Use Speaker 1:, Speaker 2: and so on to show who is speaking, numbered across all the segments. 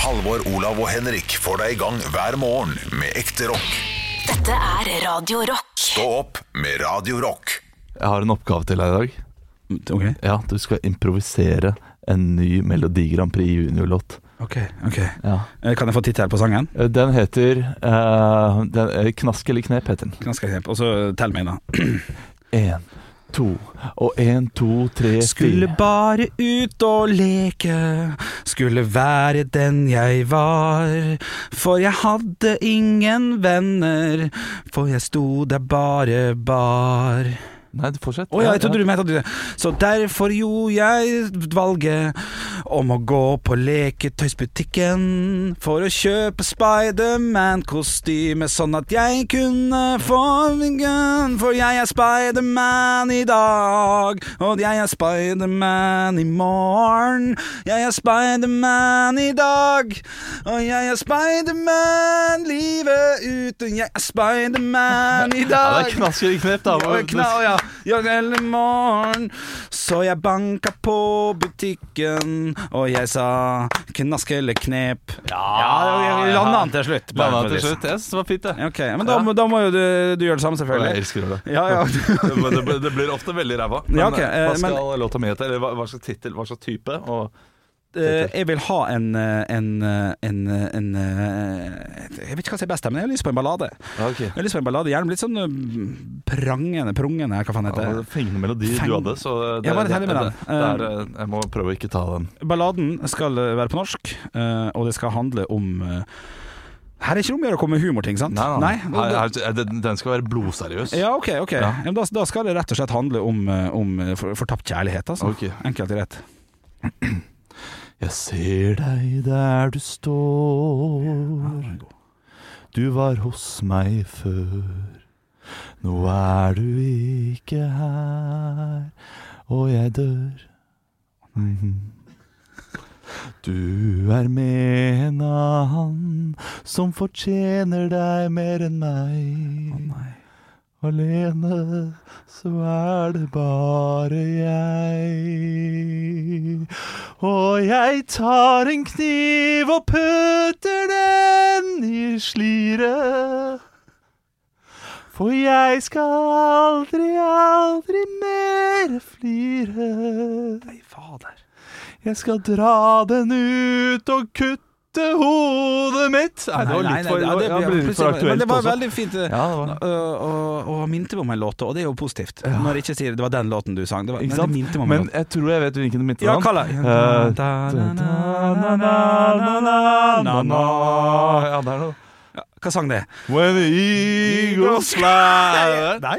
Speaker 1: Halvor, Olav og Henrik får deg i gang hver morgen med ekte rock.
Speaker 2: Dette er Radio Rock.
Speaker 1: Stå opp med Radio Rock.
Speaker 3: Jeg har en oppgave til deg i dag.
Speaker 4: Ok,
Speaker 3: Ja, Du skal improvisere en ny Melodi Grand Prix junior-låt.
Speaker 4: ok, ok
Speaker 3: Ja.
Speaker 4: Eh, Kan jeg få tittel på sangen?
Speaker 3: Den heter eh, den, eh, Knask eller knep, heter den.
Speaker 4: Ganske eksempel, og så tell meg da
Speaker 3: Én, to og én, to, tre,
Speaker 4: Skulle
Speaker 3: fire.
Speaker 4: bare ut og leke Skulle være den jeg var For jeg hadde ingen venner For jeg sto der bare bar
Speaker 3: Nei, du fortsett.
Speaker 4: Å ja, jeg trodde du mente at du Så derfor gjorde jeg valget om å gå på leketøysbutikken for å kjøpe Spiderman-kostyme, sånn at jeg kunne få vingen. For jeg er Spiderman i dag, og jeg er Spiderman i morgen. Jeg er Spiderman i dag, og jeg er Spiderman livet ut. Og jeg er Spiderman i
Speaker 3: Ja,
Speaker 4: dag.
Speaker 3: det er Knask eller knep, da.
Speaker 4: Ja, knall, ja. Jeg eller morgen. Så jeg banka på butikken, og jeg sa knask eller knep. Ja, jeg landa den til slutt. bare
Speaker 3: Landa
Speaker 4: for
Speaker 3: til
Speaker 4: å vise.
Speaker 3: slutt. Jeg synes det var fint, det.
Speaker 4: Ja, Ok, men da, må- da må jo du, du gjøre det samme,
Speaker 3: Jeg
Speaker 4: selvfølgelig.
Speaker 3: elsker å gjøre det.
Speaker 4: Ja, ja.
Speaker 3: Men det, blir- det blir ofte veldig ræva. Men
Speaker 4: Ja, ok, eh,
Speaker 3: hva skal låta mi hete? Eller hva, hva slags tittel? Hva slags type? Og
Speaker 4: Eh, Jeg vil ha en eh, en, eh, en, eh, en eh, Jeg vet ikke hva som er best, her, men jeg har lyst på en ballade.
Speaker 3: ja, ok.
Speaker 4: Jeg har lyst på en ballade, Gjerne litt sånn eh, prangende, prungende, hva faen heter det?
Speaker 3: Ja, Altså, Fengende melodi
Speaker 4: Feng-
Speaker 3: du hadde, så det,
Speaker 4: Jeg var litt heldig med
Speaker 3: det-
Speaker 4: den. Um,
Speaker 3: det er, eh, jeg må prøve å ikke ta den.
Speaker 4: Balladen skal eh, være på norsk, eh, og det skal handle om eh, Her er ikke rom å gjøre å komme med humorting, sant?
Speaker 3: Nei, nei.
Speaker 4: og
Speaker 3: Her,
Speaker 4: da-
Speaker 3: her, den, den skal være blodseriøs.
Speaker 4: Ja, ok, ok.
Speaker 3: Ja.
Speaker 4: Ja, men Da, da skal det rett og slett handle om, eh, om eh, for- fortapt kjærlighet, altså.
Speaker 3: Ok.
Speaker 4: Enkelt og rett.
Speaker 3: Jeg ser deg der du står. Du var hos meg før. Nå er du ikke her, og jeg dør. Mhm. Du er med en annen som fortjener deg mer enn meg. Alene så er det bare jeg. Og jeg tar en kniv og putter den i sliret. For jeg skal aldri, aldri mer flire. Jeg skal dra den ut og kutte hodet mitt. Nei, det var litt for,
Speaker 4: ja, det
Speaker 3: ja, det
Speaker 4: blir
Speaker 3: ble litt for
Speaker 4: plutselig- Men
Speaker 3: aktuelt
Speaker 4: det var
Speaker 3: også.
Speaker 4: veldig fint. eh,
Speaker 3: Ja, det var.
Speaker 4: øh, Og, og minte meg om en låt, og det er jo positivt. Når jeg ikke sier det var den låten du sang. Det var,
Speaker 3: Ikke
Speaker 4: men
Speaker 3: sant?
Speaker 4: det minte meg om en
Speaker 3: Men
Speaker 4: låt.
Speaker 3: jeg tror jeg vet hvilken det minner
Speaker 4: Ja,
Speaker 3: om.
Speaker 4: kall det.
Speaker 3: Eh, Ja, det er noe
Speaker 4: Hva sang det?
Speaker 3: When the eagles fly
Speaker 4: Nei.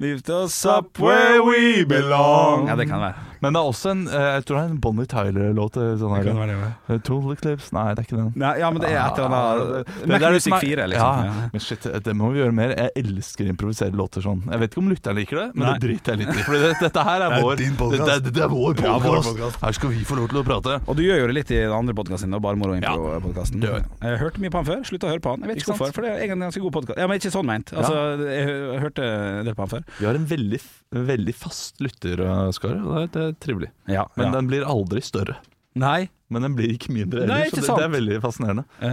Speaker 4: Lift us
Speaker 3: up where we belong.
Speaker 4: Ja, det kan være.
Speaker 3: Men det er også en eh, Jeg tror det er en Bonnie Tyler-låt. eh, Sånn
Speaker 4: Det kan
Speaker 3: her.
Speaker 4: være det, ja.
Speaker 3: Eh, Total Eclipse Nei, det er ikke den.
Speaker 4: Nei, ja, men det er et eller
Speaker 3: Ja,
Speaker 4: annet
Speaker 3: det- det- det
Speaker 4: Mac
Speaker 3: er det som
Speaker 4: Music
Speaker 3: er-
Speaker 4: 4, liksom.
Speaker 3: Ja,
Speaker 4: Ja.
Speaker 3: men shit, det må vi gjøre mer. Jeg elsker å improvisere låter sånn. Jeg vet ikke om lytteren liker det, men
Speaker 4: Nei.
Speaker 3: det driter jeg litt i. For det, dette her er,
Speaker 1: er
Speaker 3: vår
Speaker 1: din podcast.
Speaker 3: Det, det, det er vår
Speaker 1: Ja, vår
Speaker 3: podcast.
Speaker 1: podcast.
Speaker 3: Her skal vi få lov til å prate.
Speaker 4: Og du gjør jo det litt i den andre podkasten din, og Bare moro impro-podkasten.
Speaker 3: det gjør jeg.
Speaker 4: jeg hørte mye på han før, slutta å høre på han. Jeg vet
Speaker 3: Ikke
Speaker 4: ikke,
Speaker 3: sant?
Speaker 4: hvorfor, for det er egentlig en ganske god podkast. Ja, men ikke sånn meint. Altså, jeg hø- hørte en del på han før.
Speaker 3: Vi har en veldig, f- veldig fast lytterskare, og det er, det er trivelig.
Speaker 4: Ja,
Speaker 3: Men
Speaker 4: ja.
Speaker 3: den blir aldri større.
Speaker 4: Nei.
Speaker 3: Men den blir ikke mindre
Speaker 4: Nei,
Speaker 3: heller,
Speaker 4: ikke
Speaker 3: så det,
Speaker 4: sant.
Speaker 3: det er veldig fascinerende.
Speaker 4: Eh,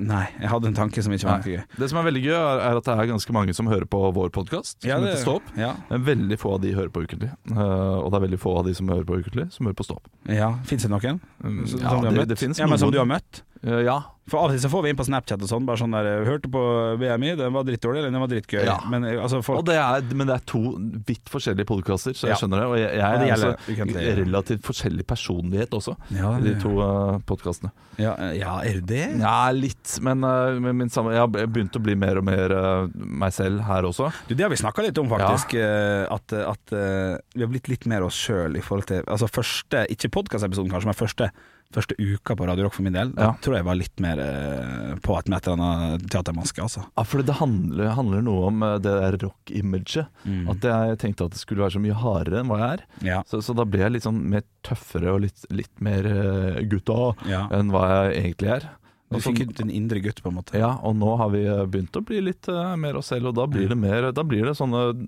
Speaker 4: nei, jeg hadde en tanke som ikke var like gøy.
Speaker 3: Det som er veldig gøy, er, er at det er ganske mange som hører på vår podkast.
Speaker 4: Ja,
Speaker 3: som
Speaker 4: det-
Speaker 3: heter Stå opp.
Speaker 4: Ja,
Speaker 3: Men veldig få av de hører på Ukentlig. Eh, og det er veldig få av de som hører på Ukentlig, som hører på Stå opp.
Speaker 4: ja. Fins det noen?
Speaker 3: Mm,
Speaker 4: Som,
Speaker 3: ja,
Speaker 4: som du har
Speaker 3: det-
Speaker 4: møtt?
Speaker 3: det finnes
Speaker 4: ja, men
Speaker 3: noen.
Speaker 4: som du har møtt?
Speaker 3: Eh, ja.
Speaker 4: For Av og til så får vi inn på Snapchat og sånn, bare sånn der eh, 'Hørte på BMI, den var drittdårlig, eller den var drittgøy'.
Speaker 3: Ja.
Speaker 4: Men eh, altså, folk
Speaker 3: Og det er, men det er to vidt forskjellige podkaster, så jeg
Speaker 4: Ja.
Speaker 3: skjønner det. Og jeg, jeg
Speaker 4: Og
Speaker 3: er
Speaker 4: det gjelder
Speaker 3: altså
Speaker 4: Ukentlig.
Speaker 3: relativt forskjellig personlighet også,
Speaker 4: Ja,
Speaker 3: i de to uh, podkastene.
Speaker 4: ja, eh, ja, er du det?
Speaker 3: Ja, litt, men eh, men min samme, jeg har begynt å bli mer og mer eh, meg selv her også.
Speaker 4: Du, det har vi snakka litt om, faktisk. eh, At, at eh, vi har blitt litt mer oss sjøl i forhold til Altså første, ikke podkastepisoden kanskje, men første, første uka på Radio Rock for min del. Da
Speaker 3: Ja.
Speaker 4: tror jeg jeg var litt mer eh, på et med et eller annet teatermaske, altså.
Speaker 3: Ja, for det handler, handler noe om eh, det der rock-imaget.
Speaker 4: Mm.
Speaker 3: At jeg tenkte at det skulle være så mye hardere enn hva jeg er.
Speaker 4: Ja.
Speaker 3: Så, så da ble jeg litt sånn mer tøffere og litt, litt mer eh, gutta
Speaker 4: Ja.
Speaker 3: enn hva jeg egentlig er.
Speaker 4: Du
Speaker 3: Og så-
Speaker 4: fikk ut din indre gutt, på en måte.
Speaker 3: Ja, og nå har vi eh, begynt å bli litt eh, mer oss selv, og da blir det mer Da blir det sånne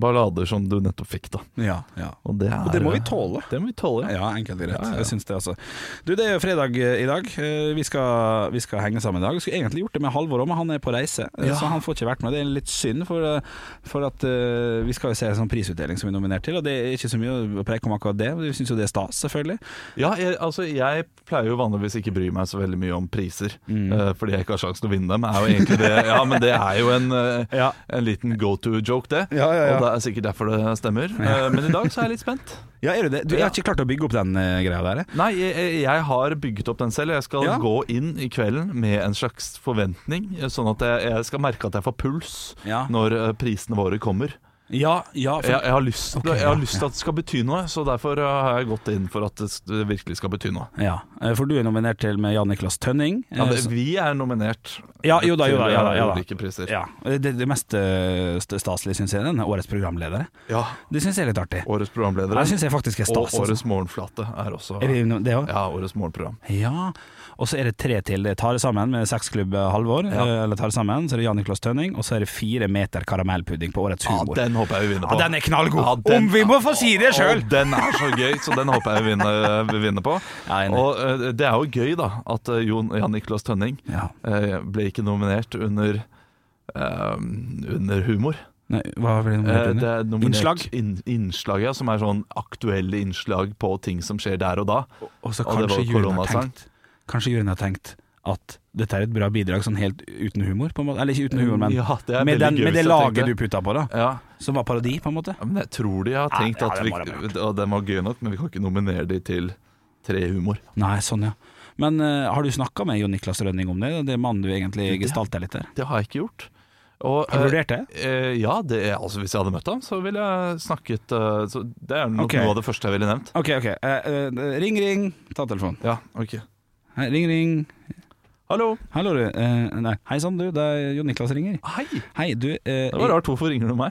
Speaker 3: ballader som du nettopp fikk, da.
Speaker 4: Ja, ja.
Speaker 3: Og det, er,
Speaker 4: Og det må vi tåle.
Speaker 3: Det må vi tåle, ja.
Speaker 4: Ja, enkelt og greit.
Speaker 3: Ja, ja.
Speaker 4: Jeg syns det, altså. Du, det er jo fredag eh, i dag. Eh, Vi skal, vi skal henge sammen i dag. Vi skulle egentlig gjort det med Halvor òg, men han er på reise, eh,
Speaker 3: Ja.
Speaker 4: så han får ikke vært med. Det er litt synd, for, eh, for at eh, vi skal jo se en sånn prisutdeling som vi er nominert til, og det er ikke så mye å preke om akkurat det. men Vi syns jo det er stas, selvfølgelig.
Speaker 3: ja jeg, altså, jeg pleier jo vanligvis ikke bry meg så veldig mye om priser,
Speaker 4: Mm.
Speaker 3: eh, fordi jeg ikke har sjanse til å vinne dem. Er jo egentlig det, ja, men det er jo en, eh,
Speaker 4: Ja.
Speaker 3: en liten go to-joke, det.
Speaker 4: Ja, ja, ja.
Speaker 3: Og det er sikkert derfor det stemmer. Eh, Men i dag så er jeg litt spent.
Speaker 4: Ja, er du det? Du jeg har ikke klart å bygge opp den eh, greia der? eh.
Speaker 3: Nei, jeg, jeg- jeg har bygget opp den selv. Jeg skal
Speaker 4: Ja.
Speaker 3: gå inn i kvelden med en slags forventning, sånn at jeg, jeg skal merke at jeg får puls
Speaker 4: Ja.
Speaker 3: når eh, prisene våre kommer.
Speaker 4: Ja, ja, for,
Speaker 3: Jeg, jeg, har lyst,
Speaker 4: Ok,
Speaker 3: jeg har
Speaker 4: ja,
Speaker 3: lyst til at det skal bety noe, så derfor eh, har jeg gått inn for at det s- det virkelig skal bety noe.
Speaker 4: ja. Eh, For du er nominert til med Jan Niklas Tønning. eh,
Speaker 3: Ja, det,
Speaker 4: som-
Speaker 3: vi er nominert
Speaker 4: Ja, jo da, jo da, ja da, ja
Speaker 3: til
Speaker 4: da.
Speaker 3: eh, ulike priser.
Speaker 4: ja. Det, det mest eh, st- staselige syns jeg er den årets programleder.
Speaker 3: Ja,
Speaker 4: Det syns jeg er litt artig.
Speaker 3: Årets
Speaker 4: Ja,
Speaker 3: programledere
Speaker 4: Det syns jeg faktisk er
Speaker 3: og
Speaker 4: stas. altså.
Speaker 3: Årets morgenflate er også
Speaker 4: Er det no- det òg?
Speaker 3: Ja, Årets morgenprogram.
Speaker 4: Ja. Og så er det tre til. Det er Tare sammen med sexklubb Halvor. eh, Eller Tare sammen. Så er det Jan Niklas Tønning. Og så er det fire meter karamellpudding på årets
Speaker 3: Ja,
Speaker 4: humor.
Speaker 3: den håper jeg vi vinner på.
Speaker 4: Ja, den er knallgod.
Speaker 3: Ja, den-
Speaker 4: Om vi må få si det sjøl!
Speaker 3: Å, Den er så gøy, så den håper jeg vi vinner, eh, vi vinner på.
Speaker 4: Ja, jeg er enig.
Speaker 3: og eh, det er jo gøy, da, at eh, Jon Jan Niklas Tønning
Speaker 4: Ja.
Speaker 3: eh, ble ikke nominert under eh, under humor.
Speaker 4: Nei, hva blir det
Speaker 3: Eh,
Speaker 4: nominert
Speaker 3: det
Speaker 4: under?
Speaker 3: er nominert
Speaker 4: Innslag?
Speaker 3: inn- innslag, ja, som er sånn aktuelle innslag på ting som skjer der og da.
Speaker 4: Og så
Speaker 3: og det var
Speaker 4: kanskje juryen har
Speaker 3: koronasang.
Speaker 4: tenkt Kanskje juryen har tenkt at dette er et bra bidrag sånn helt uten humor, på en måte. Eller ikke uten humor, men
Speaker 3: Ja, det er veldig
Speaker 4: med, den,
Speaker 3: gøy
Speaker 4: med
Speaker 3: hvis
Speaker 4: det
Speaker 3: jeg
Speaker 4: laget
Speaker 3: tenkte.
Speaker 4: du putta på, da.
Speaker 3: Ja,
Speaker 4: Som var parodi, på en måte.
Speaker 3: ja, men jeg tror de har
Speaker 4: Ja,
Speaker 3: tenkt
Speaker 4: ja,
Speaker 3: at
Speaker 4: det
Speaker 3: vi,
Speaker 4: må de ha
Speaker 3: og den var gøy nok, men vi kan ikke nominere de til tre humor.
Speaker 4: Nei, sånn, ja. Men eh, har du snakka med Jon Niklas Rønning om det? Det er mannen du egentlig
Speaker 3: Det-
Speaker 4: gestalter litt der.
Speaker 3: Det har jeg ikke gjort. Og,
Speaker 4: Har du
Speaker 3: eh,
Speaker 4: vurdert det?
Speaker 3: Eh, ja, det er, altså hvis jeg hadde møtt ham, så ville jeg snakket eh, så Det er nok
Speaker 4: Ok.
Speaker 3: noe av det første jeg ville nevnt.
Speaker 4: Ok, ok. Eh, eh, ring, ring. Ta telefonen.
Speaker 3: Ja, ok
Speaker 4: Hei, ring, ring.
Speaker 3: Hallo!
Speaker 4: Hallo, du. Eh, nei. Hei sann, du. Det er Jon Niklas ringer.
Speaker 3: Hei! Det
Speaker 4: Hei, du. eh,
Speaker 3: var rart. Hvorfor ringer du meg?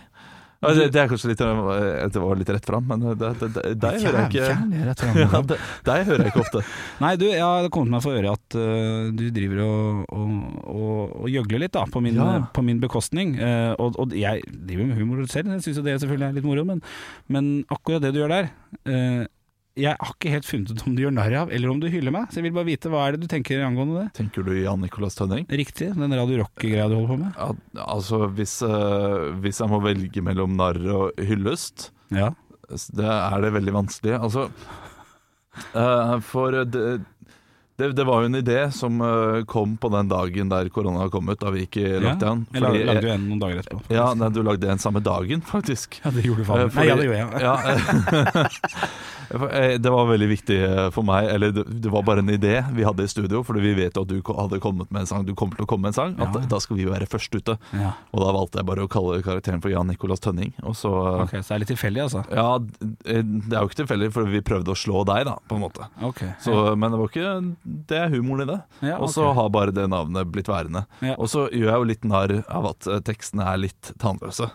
Speaker 3: Ja, det, det er kanskje litt eh, Det var litt rett fram, men eh, det, det, det, deg
Speaker 4: Jæv-
Speaker 3: hører jeg ikke
Speaker 4: jævlig rett frem.
Speaker 3: ja, det, Deg hører jeg ikke ofte.
Speaker 4: Nei, du, jeg har kommet meg for øre at eh, du driver og, og, og, og gjøgler litt, da, på min,
Speaker 3: Ja.
Speaker 4: eh, på min bekostning. Eh, og, og jeg driver med humor selv, jeg syns jo det selvfølgelig er litt moro, men, men akkurat det du gjør der eh, Jeg har ikke helt funnet ut om du gjør narr av, eller om du hyller meg, så jeg vil bare vite hva er det du tenker angående det.
Speaker 3: Tenker du Jan Nicolas Tønning?
Speaker 4: Riktig, den Radio Rock-greia du holder på med?
Speaker 3: Ja, altså, hvis, eh, hvis jeg må velge mellom narr og hyllest,
Speaker 4: Ja.
Speaker 3: så det er det veldig vanskelig. Altså eh, For det, det, det var jo en idé som eh, kom på den dagen der korona kom ut, da vi gikk i lockdown.
Speaker 4: Jeg lagde,
Speaker 3: Fordi-
Speaker 4: lagde jo en noen dager etterpå.
Speaker 3: ja, nei, du lagde en samme dagen, faktisk.
Speaker 4: Ja, det gjorde du
Speaker 3: Eh,
Speaker 4: faen meg. Nei,
Speaker 3: fordi-
Speaker 4: ja, det gjorde jeg.
Speaker 3: Ja, eh, for, eh, det var veldig viktig eh, for meg, eller det det var bare en idé vi hadde i studio, fordi vi vet jo at du ko- hadde kommet med en sang, du kommer til å komme med en sang, at
Speaker 4: Ja.
Speaker 3: da skal vi være først ute.
Speaker 4: Ja.
Speaker 3: Og da valgte jeg bare å kalle karakteren for Jan Nicolas Tønning, og så eh,
Speaker 4: Ok, så det er litt tilfeldig, altså.
Speaker 3: Ja, d- eh, det er jo ikke tilfeldig, for vi prøvde å slå deg, da, på en måte.
Speaker 4: Ok.
Speaker 3: Så, Men det var ikke Det er humoren i det.
Speaker 4: Ja,
Speaker 3: Og så
Speaker 4: ok.
Speaker 3: har bare det navnet blitt værende.
Speaker 4: Ja.
Speaker 3: Og så gjør jeg jo litt narr av at eh, tekstene er litt tannløse.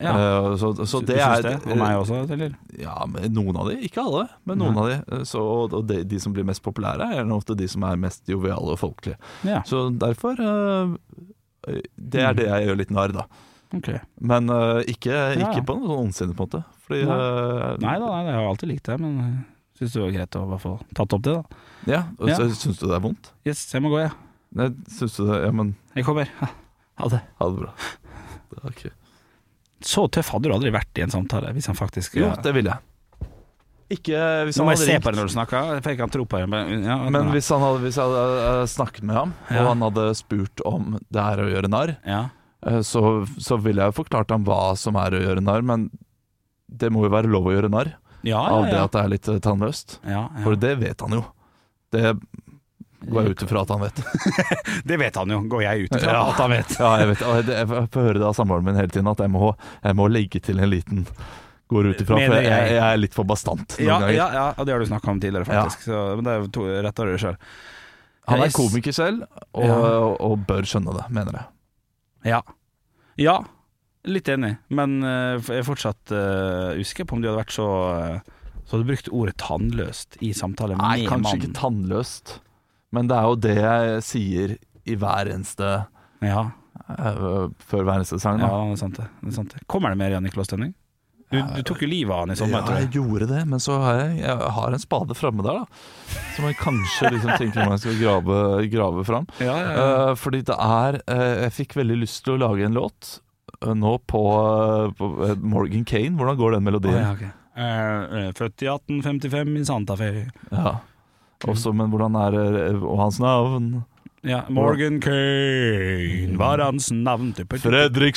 Speaker 4: ja.
Speaker 3: Eh, Så, så
Speaker 4: Du
Speaker 3: det
Speaker 4: syns
Speaker 3: er eh,
Speaker 4: det? Og meg også, eller?
Speaker 3: Ja, men noen av de, ikke alle, men noen av de. Eh, Så, og og de, de som blir mest populære, er gjerne ofte de som er mest joviale og folkelige.
Speaker 4: Ja,
Speaker 3: Så derfor eh, Det
Speaker 4: Mm.
Speaker 3: er det jeg gjør litt narr, da.
Speaker 4: ok.
Speaker 3: Men eh, ikke,
Speaker 4: Ja.
Speaker 3: ikke på noen ondsinnet måte. Fordi eh,
Speaker 4: Nei da, nei, jeg har alltid likt det, men jeg syns det var greit å i hvert fall tatt opp det, da.
Speaker 3: Ja, og
Speaker 4: Ja.
Speaker 3: så Syns du det er vondt?
Speaker 4: Yes, jeg må gå, jeg.
Speaker 3: Nei, syns du det Ja, men
Speaker 4: Jeg kommer. Ha, Ha det.
Speaker 3: ha det bra. Det er ok.
Speaker 4: Så tøff hadde du aldri vært i en samtale, hvis han faktisk eh,
Speaker 3: Jo, det vil jeg. Ikke eh, hvis
Speaker 4: Nå
Speaker 3: han
Speaker 4: må jeg
Speaker 3: hadde
Speaker 4: se
Speaker 3: ringt.
Speaker 4: på deg når du snakker, for jeg kan tro på deg. Men, ja,
Speaker 3: Men
Speaker 4: nei.
Speaker 3: hvis, han hadde, hvis jeg hadde eh, snakket med ham, og
Speaker 4: Ja.
Speaker 3: han hadde spurt om det er å gjøre narr,
Speaker 4: ja.
Speaker 3: eh, så, så ville jeg jo forklart ham hva som er å gjøre narr, men det må jo være lov å gjøre narr
Speaker 4: Ja,
Speaker 3: av
Speaker 4: Ah, ja,
Speaker 3: det
Speaker 4: ja.
Speaker 3: at det er litt eh, tannløst.
Speaker 4: ja,
Speaker 3: For
Speaker 4: ja.
Speaker 3: det vet han jo. Det går jeg ut ifra at han vet.
Speaker 4: Det vet han jo, går jeg ut ifra
Speaker 3: Ja.
Speaker 4: at han vet.
Speaker 3: Ja, jeg vet og jeg, jeg får høre det av samboeren min hele tiden, at jeg må, jeg må legge til en liten Går ut ifra, for
Speaker 4: Mener
Speaker 3: jeg,
Speaker 4: jeg.
Speaker 3: jeg er litt for bastant noen
Speaker 4: Ja,
Speaker 3: ganger.
Speaker 4: ja, ja, og det har du snakka om tidligere, faktisk. Så, men det er jo to, rett av dere sjøl.
Speaker 3: Han er
Speaker 4: Jeg-
Speaker 3: komiker selv, og,
Speaker 4: Ja.
Speaker 3: og bør skjønne det, mener jeg.
Speaker 4: Ja. ja. Litt enig, men eh, jeg er fortsatt eh, usikker på om du hadde vært så eh, Så hadde du brukt ordet tannløst i samtale
Speaker 3: Nei,
Speaker 4: med
Speaker 3: kanskje
Speaker 4: mannen.
Speaker 3: ikke tannløst, men det er jo det jeg sier i hver eneste
Speaker 4: Ja.
Speaker 3: eh, før hver sesong.
Speaker 4: Ja,
Speaker 3: Da.
Speaker 4: det er sant det. det, er sant det. Kommer det mer Jan Niklas Tønning? Du, du tok jo livet av han i sommer,
Speaker 3: Ja,
Speaker 4: tror
Speaker 3: jeg
Speaker 4: jeg.
Speaker 3: gjorde det, men så har jeg, jeg har en spade framme der, da. Som jeg kanskje liksom tenker om jeg skal grave, grave fram.
Speaker 4: Ja, ja, ja.
Speaker 3: Eh, fordi det er eh, Jeg fikk veldig lyst til å lage en låt eh, nå på, eh, på eh, Morgan Kane. Hvordan går den
Speaker 4: Å,
Speaker 3: melodien?
Speaker 4: ja, ok. Eh, eh, født i 1855 i Santa Fe.
Speaker 3: Ja. Også, men hvordan er eh, Og hans navn?
Speaker 4: Ja, Morgan Kane var hans navn.
Speaker 3: Fredrik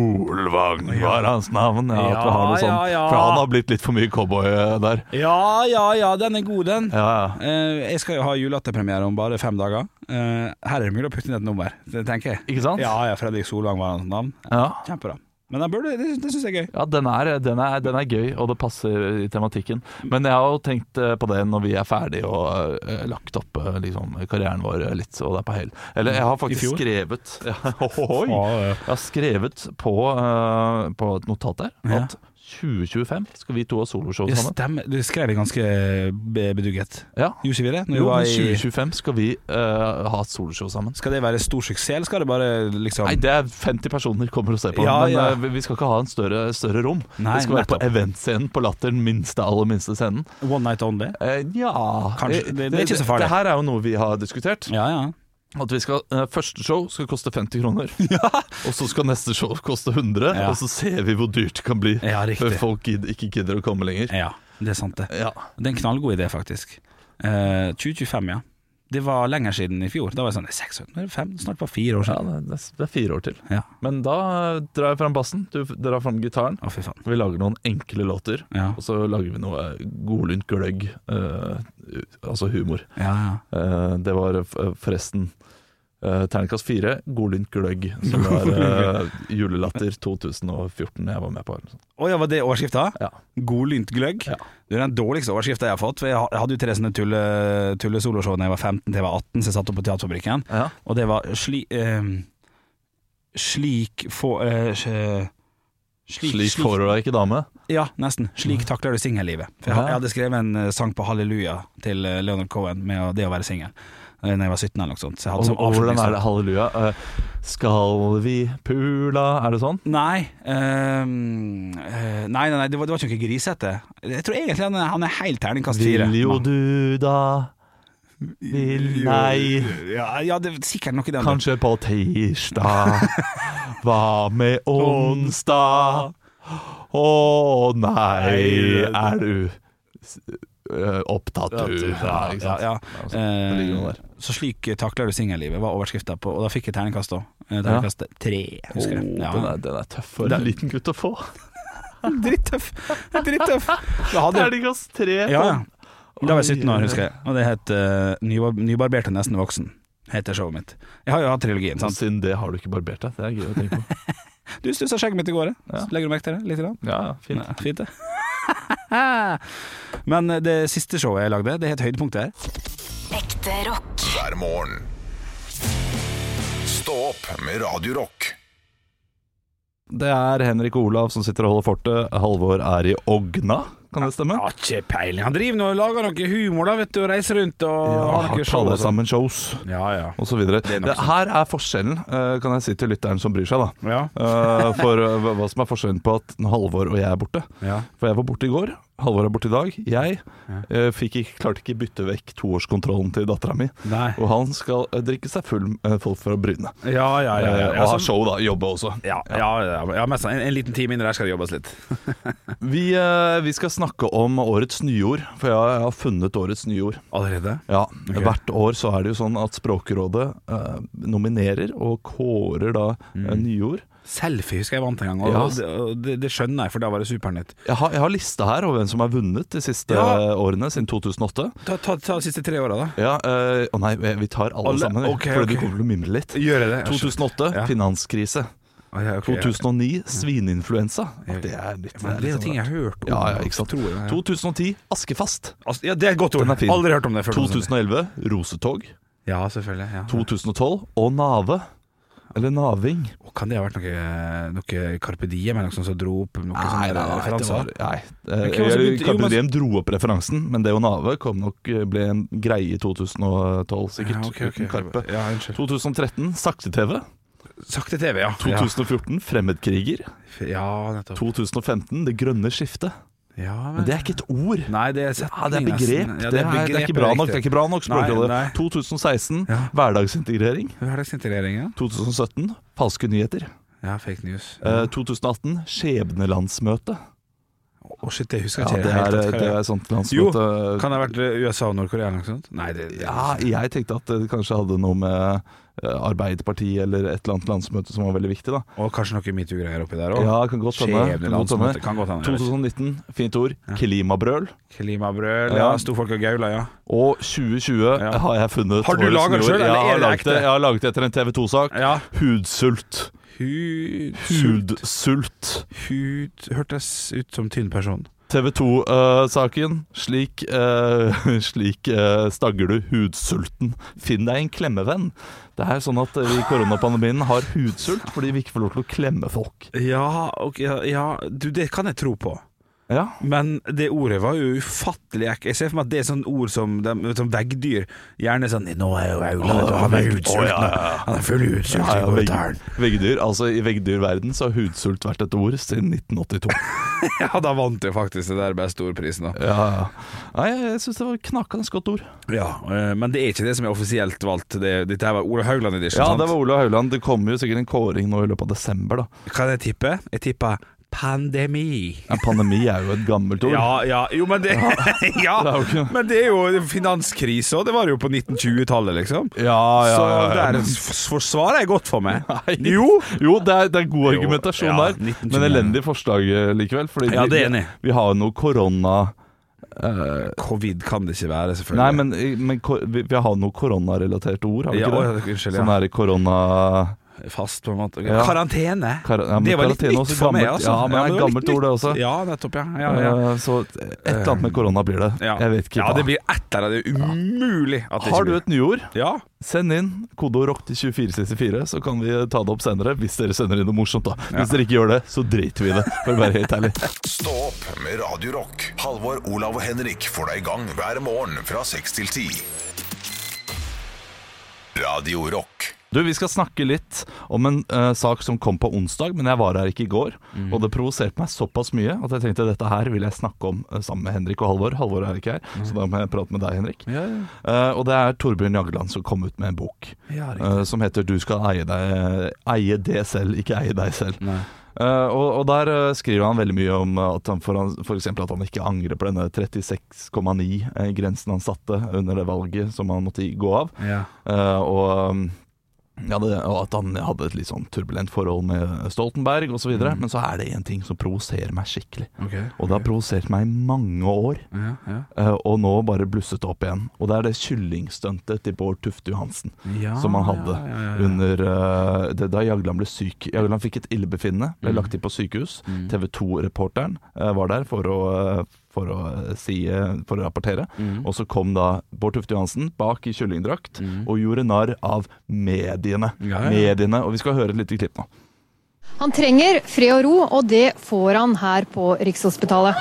Speaker 3: Solvang var hans navn. Ja, at vi har noe
Speaker 4: Ja, ja,
Speaker 3: sånt.
Speaker 4: ja.
Speaker 3: For han har blitt litt for mye cowboy eh, der.
Speaker 4: Ja, ja, ja, den er god, den.
Speaker 3: Ja, ja.
Speaker 4: Eh, jeg skal jo ha julelatterpremiere om bare fem dager. Eh, her er det mulig å putte inn et nummer, det tenker jeg.
Speaker 3: Ikke sant?
Speaker 4: Ja, ja, Fredrik Solvang var hans navn.
Speaker 3: Ja.
Speaker 4: Kjempebra. Men den burde, det, det syns jeg er gøy.
Speaker 3: Ja, den er, den, er, den er gøy, og det passer i tematikken. Men jeg har jo tenkt eh, på det når vi er ferdig og eh, lagt opp eh, liksom, karrieren vår eh, litt, og det er på hell. Eller jeg har
Speaker 4: I fjor?
Speaker 3: faktisk skrevet ja, ohoi. Jeg har skrevet på, eh, på et notat der
Speaker 4: Ja.
Speaker 3: at 2025 skal vi to ha soloshow
Speaker 4: Det
Speaker 3: sammen.
Speaker 4: stemmer. Du skrev det ganske be- bedugget.
Speaker 3: Ja.
Speaker 4: Gjorde ikke vi det? Når vi
Speaker 3: Jo,
Speaker 4: var
Speaker 3: men
Speaker 4: i,
Speaker 3: 2025 skal vi eh, ha et soloshow sammen.
Speaker 4: skal det være stor suksess, eller skal det bare liksom
Speaker 3: Nei, det er 50 personer kommer og ser på.
Speaker 4: Ja,
Speaker 3: men
Speaker 4: ja.
Speaker 3: eh, vi- vi skal ikke ha en større, større rom.
Speaker 4: Nei,
Speaker 3: det skal være
Speaker 4: nettopp.
Speaker 3: på eventscenen på Latteren, minste aller minste scenen.
Speaker 4: One night only?
Speaker 3: Eh, ja
Speaker 4: Kanskje- det- det er ikke så farlig.
Speaker 3: Det her er jo noe vi har diskutert.
Speaker 4: Ja, ja.
Speaker 3: At vi skal, eh, Første show skal koste 50 kroner. Og så skal neste show koste 100,
Speaker 4: Ja.
Speaker 3: og så ser vi hvor dyrt det kan bli
Speaker 4: Ja,
Speaker 3: før
Speaker 4: riktig.
Speaker 3: folk gid, ikke gidder å komme lenger.
Speaker 4: Ja, det er sant, det.
Speaker 3: Ja.
Speaker 4: Det er en knallgod idé, faktisk. Eh, 2025, ja. Det var lenger siden i fjor. Da var jeg sånn 600, 5, snart bare fire år
Speaker 3: Ja,
Speaker 4: siden.
Speaker 3: det, det er fire år til.
Speaker 4: Ja.
Speaker 3: Men da eh, drar jeg fram bassen, du f- drar fram gitaren.
Speaker 4: Å, fy faen.
Speaker 3: Vi lager noen enkle låter,
Speaker 4: Ja.
Speaker 3: og så lager vi noe eh, godlynt gløgg. eh, altså humor.
Speaker 4: Ja, ja.
Speaker 3: Eh, det var eh, forresten eh, terningkast fire, godlynt gløgg, som var eh, julelatter 2014 jeg var med på. eller noe sånt.
Speaker 4: Å ja, var det overskrifta?
Speaker 3: Ja.
Speaker 4: Godlynt gløgg?
Speaker 3: Ja.
Speaker 4: Det er den dårligste overskrifta jeg har fått. For jeg ha- jeg hadde jo tre sånne tulle, tullesoloshow da jeg var 15 til jeg var 18, så jeg satt opp på Teaterfabrikken.
Speaker 3: Ja.
Speaker 4: Og det var sli, eh, slik få... eh, sj- slik,
Speaker 3: Slik får du deg ikke dame.
Speaker 4: Ja, nesten. Slik takler du singellivet. For jeg,
Speaker 3: Ja.
Speaker 4: jeg hadde skrevet en eh, sang på Halleluja til eh, Leonard Cohen med å- det å være singel da jeg var 17 eller noe sånt. Så jeg hadde
Speaker 3: Og,
Speaker 4: sånn som
Speaker 3: og hvordan
Speaker 4: avslutningssang.
Speaker 3: er det halleluja? Eh, skal vi pula? Er det sånn?
Speaker 4: Nei, ehm, eh, nei, nei, nei, det var, det var ikke noe grisete. Jeg tror egentlig han er, han er helt terningkast fire.
Speaker 3: Vil jo du da Vil nei
Speaker 4: Ja, ja, det er sikkert noe i den.
Speaker 3: Kanskje på tirsdag Hva med onsdag? Å nei Er du s- eh, opptatt du? Ja, ikke sant?
Speaker 4: Ja, ja.
Speaker 3: Det ligger noe der.
Speaker 4: Eh, så slik takler du singellivet, var overskrifta på, og da fikk jeg terningkast òg. Terningkast tre, husker jeg.
Speaker 3: Åh,
Speaker 4: Ja.
Speaker 3: Den, er, den er tøff for en liten gutt å få.
Speaker 4: Drittøff! Drittøff! Jeg hadde-
Speaker 3: Terningkast tre.
Speaker 4: Ja, ja.
Speaker 3: på-
Speaker 4: Da var jeg 17 år, husker jeg. Og det het eh, Nybar Nybarbert og nesten voksen. Heter showet mitt. Jeg har jo hatt trilogien, sant.
Speaker 3: Siden det har du ikke barbert deg. Det er gøy å tenke på.
Speaker 4: Du stussa skjegget mitt i går, eh.
Speaker 3: Ja.
Speaker 4: legger du merke til det? Litt? Grann?
Speaker 3: Ja, ja, fint.
Speaker 4: Ja, fint, det. Men eh, det siste showet jeg lagde, det het Høydepunktet her.
Speaker 2: Ekte rock.
Speaker 1: hver morgen. Stå opp med Radio Rock.
Speaker 3: Det er Henrik og Olav som sitter og holder fortet. Halvor er i Ogna, kan det stemme?
Speaker 4: Har ikke peiling. Han driver nå og lager noe humor, da, vet du, og reiser rundt og har
Speaker 3: har
Speaker 4: noe show.
Speaker 3: alle
Speaker 4: og sånn.
Speaker 3: sammen shows
Speaker 4: Ja, ja.
Speaker 3: og så videre.
Speaker 4: er nok
Speaker 3: Det- Her er forskjellen, eh, kan jeg si til lytteren som bryr seg, da.
Speaker 4: Ja.
Speaker 3: Eh, For eh, hva hva som er forskjellen på at når Halvor og jeg er borte.
Speaker 4: ja.
Speaker 3: For jeg var borte i går, Halvor er borte i dag. Jeg eh, fikk ikke, klarte ikke bytte vekk toårskontrollen til dattera mi.
Speaker 4: Nei.
Speaker 3: Og han skal eh, drikke seg full med folk fra Bryne.
Speaker 4: Ja, ja, ja. ja,
Speaker 3: Eh,
Speaker 4: ja.
Speaker 3: Og ha
Speaker 4: sånn-
Speaker 3: show, da. Jobbe også.
Speaker 4: ja, ja, ja, ja mest, en, en liten time inn der skal det jobbes litt.
Speaker 3: Vi, eh, vi skal snakke om årets nyord, for jeg, jeg har funnet årets nyord.
Speaker 4: Allerede?
Speaker 3: Ja,
Speaker 4: Ok.
Speaker 3: Hvert år så er det jo sånn at Språkrådet eh, nominerer og kårer da eh,
Speaker 4: Mm.
Speaker 3: nyord.
Speaker 4: Selfie husker jeg vant en gang, og,
Speaker 3: Ja.
Speaker 4: og det, og det, det skjønner jeg, for da var det Supernytt.
Speaker 3: Jeg har, jeg har lista her over hvem som har vunnet de siste
Speaker 4: Ja.
Speaker 3: eh, årene, siden 2008.
Speaker 4: Ta, ta, ta de siste tre åra, da.
Speaker 3: Ja, eh, Å nei, vi vi tar alle,
Speaker 4: Alle-
Speaker 3: sammen, vi,
Speaker 4: ok,
Speaker 3: fordi
Speaker 4: ok.
Speaker 3: du kommer til å mimre litt.
Speaker 4: Gjør jeg det?
Speaker 3: 2008
Speaker 4: Ja.
Speaker 3: finanskrise.
Speaker 4: Ah, ja, ok, ja.
Speaker 3: 2009 svininfluensa. Ja, det er litt liksom
Speaker 4: Men det er jo ting jeg har hørt om.
Speaker 3: Ja, ja, ikke sant.
Speaker 4: Tror jeg, ja.
Speaker 3: 2010 Askefast.
Speaker 4: Altså, ja, det er et godt ord.
Speaker 3: Den er fin.
Speaker 4: Aldri hørt om det før.
Speaker 3: 2011 Rosetog.
Speaker 4: Ja, selvfølgelig. Ja.
Speaker 3: 2012 Å nave. Eller naving.
Speaker 4: Og Kan det ha vært noe, noe Carpe Diem eller noe sånt som dro opp noe sånn sånne
Speaker 3: det var,
Speaker 4: referanser?
Speaker 3: nei.
Speaker 4: altså.
Speaker 3: Eh,
Speaker 4: Men hvem var det som begynte- jo,
Speaker 3: Carpe
Speaker 4: men-
Speaker 3: Diem dro opp referansen, men det å nave kom nok, eh, ble en greie i 2012, sikkert.
Speaker 4: Ja, ok, ok.
Speaker 3: Uten Carpe.
Speaker 4: Ja, unnskyld.
Speaker 3: 2013 Sakte-TV.
Speaker 4: Sakte TV, ja.
Speaker 3: 2014 Fremmedkriger.
Speaker 4: Ja, ja nettopp.
Speaker 3: 2015 Det grønne skiftet.
Speaker 4: Ja,
Speaker 3: Men det er ikke et ord.
Speaker 4: Nei, det er,
Speaker 3: Ja, det er
Speaker 4: setning,
Speaker 3: begrep.
Speaker 4: nesten. Ja,
Speaker 3: det, er det er ikke bra nok. Det er ikke bra nok språkrådet.
Speaker 4: Nei, nei.
Speaker 3: 2016
Speaker 4: Ja.
Speaker 3: hverdagsintegrering.
Speaker 4: Hverdagsintegrering, ja.
Speaker 3: 2017 falske nyheter.
Speaker 4: Ja, fake news.
Speaker 3: Eh, 2018 skjebnelandsmøte.
Speaker 4: Å, shit, det husker
Speaker 3: Ja,
Speaker 4: jeg
Speaker 3: det
Speaker 4: ikke. helt
Speaker 3: er, eh,
Speaker 4: godt hva
Speaker 3: det er
Speaker 4: det
Speaker 3: et sånt
Speaker 4: Jo,
Speaker 3: landsmøte.
Speaker 4: er. Kan det ha vært eh, USA og Nord-Korea eller noe sånt? Nei, det, det
Speaker 3: Ja, jeg tenkte at det kanskje hadde noe med eh, Arbeiderpartiet eller et eller annet landsmøte som var veldig viktig, da.
Speaker 4: Og kanskje noe metoo-greier oppi der òg.
Speaker 3: Ja, kan godt hende. Kan godt hende.
Speaker 4: Kan godt hende. jeg vet ikke.
Speaker 3: 2019, fint ord. Klimabrøl.
Speaker 4: Klimabrøl, ja.
Speaker 3: Ja.
Speaker 4: Storfolk og gaula, ja.
Speaker 3: Og 2020
Speaker 4: Ja.
Speaker 3: har jeg funnet
Speaker 4: Har du
Speaker 3: årets
Speaker 4: laget det
Speaker 3: nyord.
Speaker 4: selv, eller
Speaker 3: Ja,
Speaker 4: er
Speaker 3: Jeg har
Speaker 4: det
Speaker 3: laget
Speaker 4: ekte?
Speaker 3: det Jeg har laget det etter en TV 2-sak.
Speaker 4: ja.
Speaker 3: Hudsult.
Speaker 4: Hud
Speaker 3: Hudsult.
Speaker 4: Hud hørtes ut som tynn person.
Speaker 3: TV 2-saken. Slik, eh, slik eh, stagger du hudsulten. Finn deg en klemmevenn. Det er sånn at vi i koronapandemien har hudsult fordi vi ikke får lov til å klemme folk.
Speaker 4: Ja, ok, ja, ja, du, det kan jeg tro på.
Speaker 3: Ja,
Speaker 4: Men det ordet var jo ufattelig ekkelt. Jeg ser for meg at det er sånn ord som, de, som veggdyr. Gjerne sånn 'Nå er jo aula
Speaker 3: Å,
Speaker 4: Han er
Speaker 3: vegg- å,
Speaker 4: utsulten.
Speaker 3: ja, ja, ja.
Speaker 4: Han er full utsult i
Speaker 3: Ja, ja, vegg-
Speaker 4: gåteren.»
Speaker 3: Veggdyr, altså I veggdyrverden så har hudsult vært et ord siden 1982.
Speaker 4: Ja, da vant jeg faktisk det der beste ordprisen, da.
Speaker 3: Ja, ja. Nei, Jeg syns det var et knakende godt ord.
Speaker 4: Ja, eh, men det er ikke det som er offisielt valgt. Det, dette her var Ole Haugland Edition.
Speaker 3: Ja,
Speaker 4: sant?
Speaker 3: det var Olav Haugland. Det kommer jo sikkert en kåring nå i løpet av desember, da.
Speaker 4: Kan jeg tippe? Jeg tipper pandemi.
Speaker 3: En pandemi er jo et gammelt ord.
Speaker 4: Ja, ja, jo, men det Ja,
Speaker 3: Det er jo ikke-
Speaker 4: men det er jo finanskrise, og det var jo på 1920-tallet, liksom.
Speaker 3: ja, ja. ja, ja.
Speaker 4: Så der s- forsvarer jeg godt for meg.
Speaker 3: Nei.
Speaker 4: Jo!
Speaker 3: Jo, det er, det er god
Speaker 4: Jo,
Speaker 3: argumentasjon
Speaker 4: ja,
Speaker 3: der,
Speaker 4: 1929.
Speaker 3: men elendig forslag eh, likevel. Fordi
Speaker 4: Ja, det er
Speaker 3: vi,
Speaker 4: enig.
Speaker 3: vi har jo noe korona... eh,
Speaker 4: Covid kan det ikke være, selvfølgelig.
Speaker 3: nei, men, eh, men ko- vi, vi har noe koronarelaterte ord, har vi
Speaker 4: ja,
Speaker 3: ikke
Speaker 4: å,
Speaker 3: det?
Speaker 4: Unnskyld,
Speaker 3: Sånn
Speaker 4: ja.
Speaker 3: er det korona...
Speaker 4: Fast, på en måte.
Speaker 3: Ja.
Speaker 4: Karantene.
Speaker 3: Kar ja, men
Speaker 4: det var litt
Speaker 3: karantene er
Speaker 4: nytt
Speaker 3: også
Speaker 4: for meg,
Speaker 3: gammelt.
Speaker 4: altså.
Speaker 3: Ja, men det er
Speaker 4: det var litt
Speaker 3: gammelt ord, det
Speaker 4: nytt.
Speaker 3: også.
Speaker 4: Ja, nettopp, ja. ja, ja.
Speaker 3: Eh, så et eller annet med korona blir det.
Speaker 4: Ja.
Speaker 3: Jeg vet ikke.
Speaker 4: Ja,
Speaker 3: hva.
Speaker 4: det blir ett eller annet. Det er umulig at det ikke
Speaker 3: Har du
Speaker 4: blir.
Speaker 3: et nyord?
Speaker 4: Ja.
Speaker 3: Send inn kodeord rock til 2464, så kan vi ta det opp senere. Hvis dere sender inn noe morsomt, da. Hvis dere ikke gjør det, så driter vi i det. For å være helt ærlig.
Speaker 1: Stå opp med Radio Rock. Halvor, Olav og Henrik får deg i gang hver morgen fra 6 til 10. Radio Rock.
Speaker 3: Du, Vi skal snakke litt om en eh, sak som kom på onsdag, men jeg var her ikke i går.
Speaker 4: Mhm.
Speaker 3: Og det provoserte meg såpass mye at jeg tenkte dette her vil jeg snakke om eh, sammen med Henrik og Halvor. Halvor er ikke her,
Speaker 4: Mhm.
Speaker 3: så da må jeg prate med deg, Henrik. Eh, og det er Torbjørn Jagland som kom ut med en bok
Speaker 4: Ja,
Speaker 3: eh, som heter 'Du skal eie, deg, eie det selv, ikke eie deg selv'.
Speaker 4: Nei.
Speaker 3: Eh, og, og der eh, skriver han veldig mye om at han for, han- for eksempel at han ikke angrer på denne 36,9-grensen eh, han satte under det valget som han måtte gå av.
Speaker 4: Ja.
Speaker 3: Eh, og um, ja, det, og at han hadde et litt sånn turbulent forhold med Stoltenberg osv. videre Men så er det én ting som provoserer meg skikkelig.
Speaker 4: Ok.
Speaker 3: Og det har provosert meg i mange år,
Speaker 4: Ja, ja.
Speaker 3: eh, og nå bare blusset det opp igjen. Og det er det kyllingstuntet til Bård Tufte Johansen
Speaker 4: Ja,
Speaker 3: som han hadde
Speaker 4: ja, ja, ja.
Speaker 3: under eh, det, da Jagland ble syk. Jagland fikk et illebefinnende, ble
Speaker 4: Mm.
Speaker 3: lagt inn på sykehus. TV 2-reporteren eh, var der for å, eh, for å, eh, si, eh, for å rapportere.
Speaker 4: Mm.
Speaker 3: Og så kom da Bård Tufte Johansen bak i kyllingdrakt og gjorde narr av mediene.
Speaker 4: Ja, ja.
Speaker 3: mediene. Og vi skal høre et lite klipp nå.
Speaker 5: Han trenger fred og ro, og det får han her på Rikshospitalet.